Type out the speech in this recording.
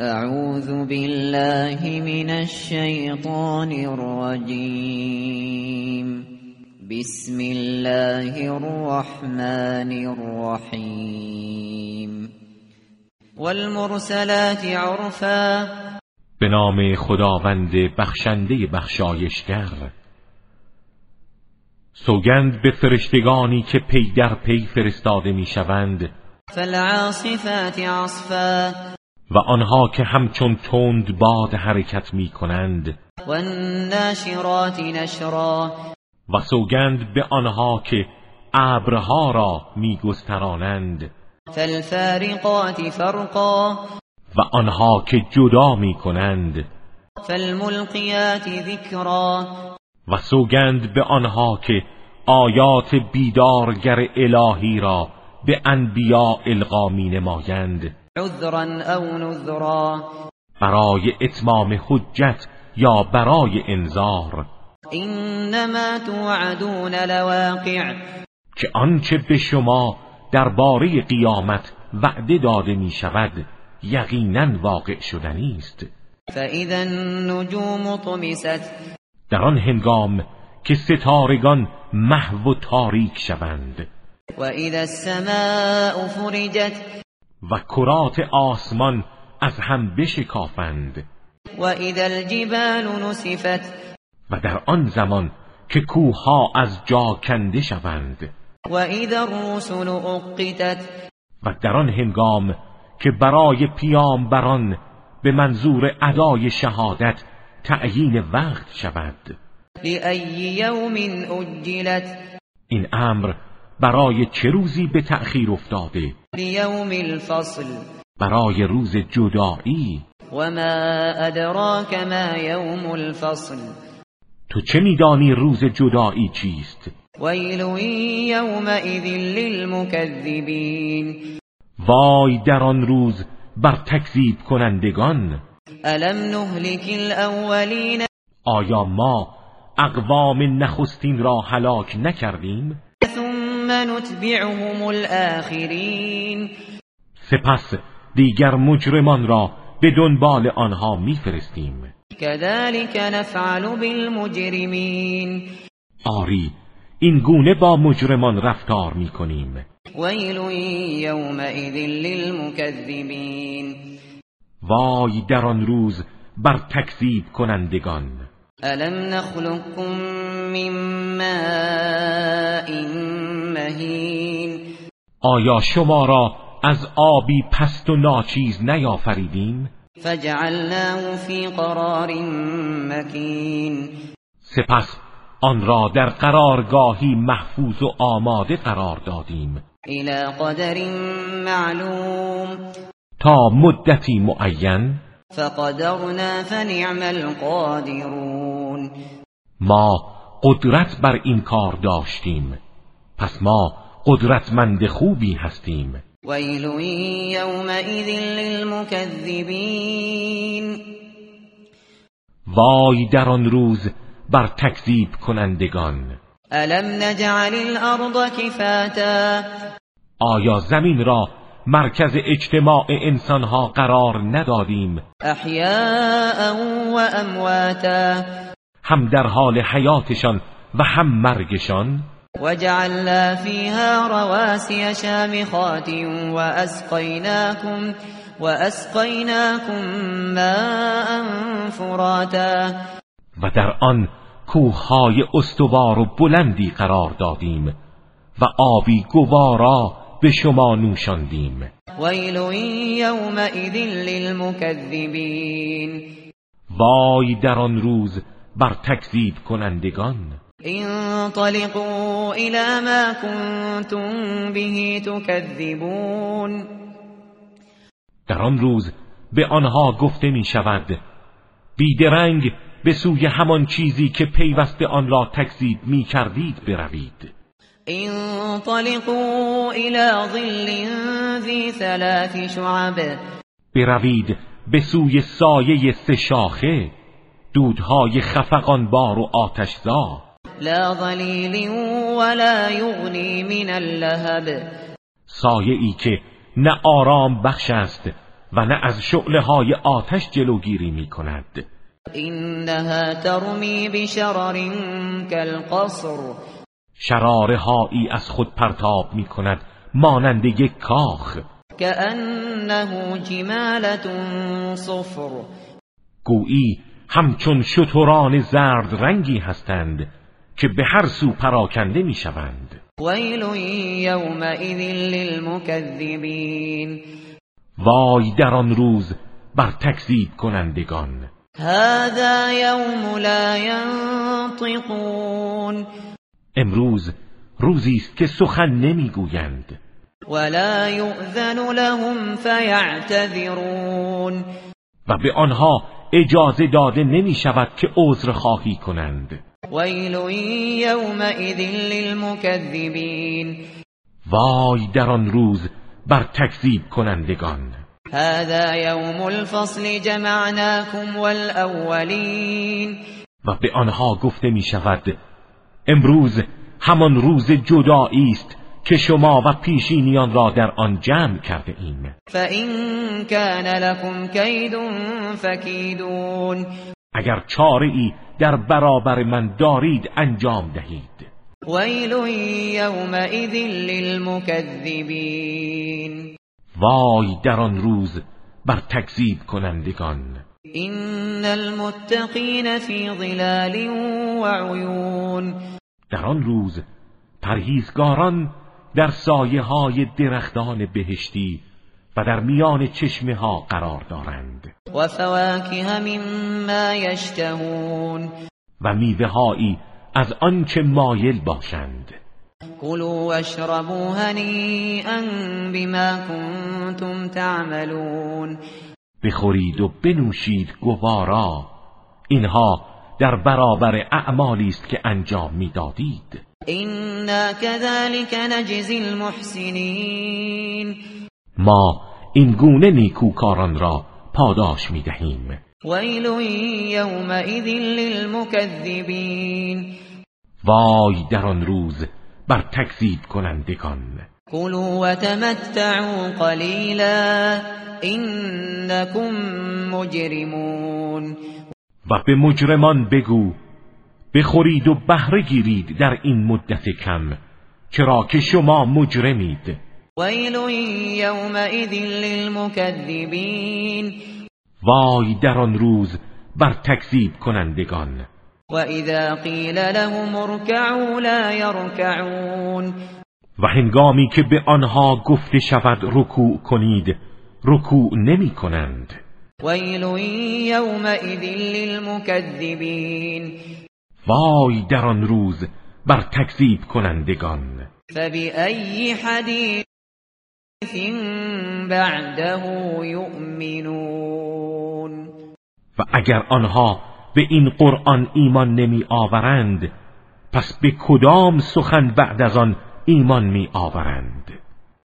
أعوذ بالله من الشيطان الرجيم بسم الله الرحمن الرحيم والمرسلات عرفا به نام خداوند بخشنده بخشایشگر سوگند به فرشتگانی که پی در پی فرستاده میشوند فالعاصفات عصفا و آنها که همچون تند باد حرکت می کنند والناشرات نشرا و سوگند به آنها که ابرها را میگسترانند فالفارقات فرقا و آنها که جدا می کنند فالملقيات ذكرا و سوگند به آنها که آیات بیدارگر الهی را به انبیا القا می نمایند عذرا أو نذرا برای اتمام حجت یا برای انذار إنما توعدون لواقع که آنچه به شما درباره قیامت وعده داده می شود یقینا واقع شدنی است فإذا النجوم طمست در آن هنگام که ستارگان محو و تاریک شوند وإذا السماء فرجت و کرات آسمان از هم بشکافند وإذا الجبال نسفت و در آن زمان که کوهها از جا کنده شوند وإذا الرسل أقتت و در آن هنگام که برای پیامبران به منظور ادای شهادت تعیین وقت شود لأي يوم أجلت این امر برای چه روزی به تأخیر افتاده ليوم الفصل برای روز جدایی وما أدراك ما يوم الفصل تو چه میدانی روز جدایی چیست ويل يومئذ للمكذبين وای در آن روز بر تکذیب کنندگان ألم نهلك الأولين آیا ما اقوام نخستین را هلاک نکردیم ثم نتبعهم الآخرين سپس دیگر مجرمان را به دنبال آنها میفرستیم كذلك نفعل بالمجرمين آری این گونه با مجرمان رفتار میکنیم ويل يومئذ للمكذبين وای در آن روز بر تکذیب کنندگان ألم نخلقكم من ماء مهين آیا شما را از آبی پست و ناچیز نیافریدیم فجعلناه في قرار مكين سپس آن را در قرارگاهی محفوظ و آماده قرار دادیم إلى قدر معلوم تا مدتی معین فقدرنا فنعم القادرون ما قدرت بر این کار داشتیم پس ما قدرتمند خوبی هستیم ويل يومئذ للمكذبين وای در آن روز بر تکذیب کنندگان ألم نجعل الأرض كفاتا آیا زمین را مرکز اجتماع انسانها قرار ندادیم أحياء وأمواتا هم در حال حیاتشان و هم مرگشان وجعلنا فيها رواسي شامخات وأسقيناكم وأسقيناكم ماء فراتا و در آن کوههای استوار و بلندی قرار دادیم و آبی گوارا به شما نوشاندیم ويل يومئذ للمكذبين وای در آن روز بر تکذیب کنندگان انطلقوا إلى ما كنتم به تكذبون در آن روز به آنها گفته می شود بیدرنگ به سوی همان چیزی که پیوسته آن را تکذیب می کردید بروید انطلقوا إلى ظل ذي ثلاث شعب بروید به سوی سایه سه شاخه دودهای خفقان بار و آتشزا لا ظليل ولا يغني من اللهب سایه ای که نه آرام بخش است و نه از شعله های آتش جلوگیری می کند إنها ترمي بشرر كالقصر شراره هایی از خود پرتاب می کند مانند یک کاخ كأنه جمالة صفر گویی همچون شتران زرد رنگی هستند که به هر سو پراکنده می شوند ويل يومئذ للمكذبين وای در آن روز بر تکذیب کنندگان هذا يوم لا ينطقون امروز روزی است که سخن نمیگویند ولا يؤذن لهم فيعتذرون و به آنها اجازه داده نمی شود که عذر خواهی کنند ويل يومئذ للمكذبين وای در آن روز بر تکذیب کنندگان هذا يوم الفصل جمعناكم والأولين و به آنها گفته می شود امروز همان روز جدایی است که شما و پیشینیان را در آن جمع کرده ایم فإن كان لكم كيد فكيدون اگر چاره ای در برابر من دارید انجام دهید ويل يومئذ للمكذبين وای در آن روز بر تکذیب کنندگان إن المتقين في ظلال وعيون در آن روز پرهیزگاران در سایه های درختان بهشتی و در میان چشمه ها قرار دارند وفواكه مما يشتهون و میوه هایی از آنچه مایل باشند كلوا واشربوا هنيئا بما كنتم تعملون بخورید و بنوشید گوارا اینها در برابر اعمالی است که انجام میدادید إنا كذلك نجزي المحسنين ما این گونه نیکوکاران را پاداش میدهیم ويل يومئذ للمكذبين وای در آن روز بر تکذیب کنندگان كلوا وتمتعوا قليلا إنكم مجرمون و به مجرمان بگو بخورید و بهره گیرید در این مدت کم چرا که شما مجرمید ويل يومئذ للمكذبين وای در آن روز بر تکذیب کنندگان وإذا قيل لهم اركعوا لا يركعون و هنگامی که به آنها گفته شود رکوع کنید رکوع نمی کنند ويل يومئذ للمكذبين وای در آن روز بر تکذیب کنندگان فبأي حديث بعده يؤمنون و اگر آنها به این قرآن ایمان نمی آورند پس به کدام سخن بعد از آن ایمان می آورند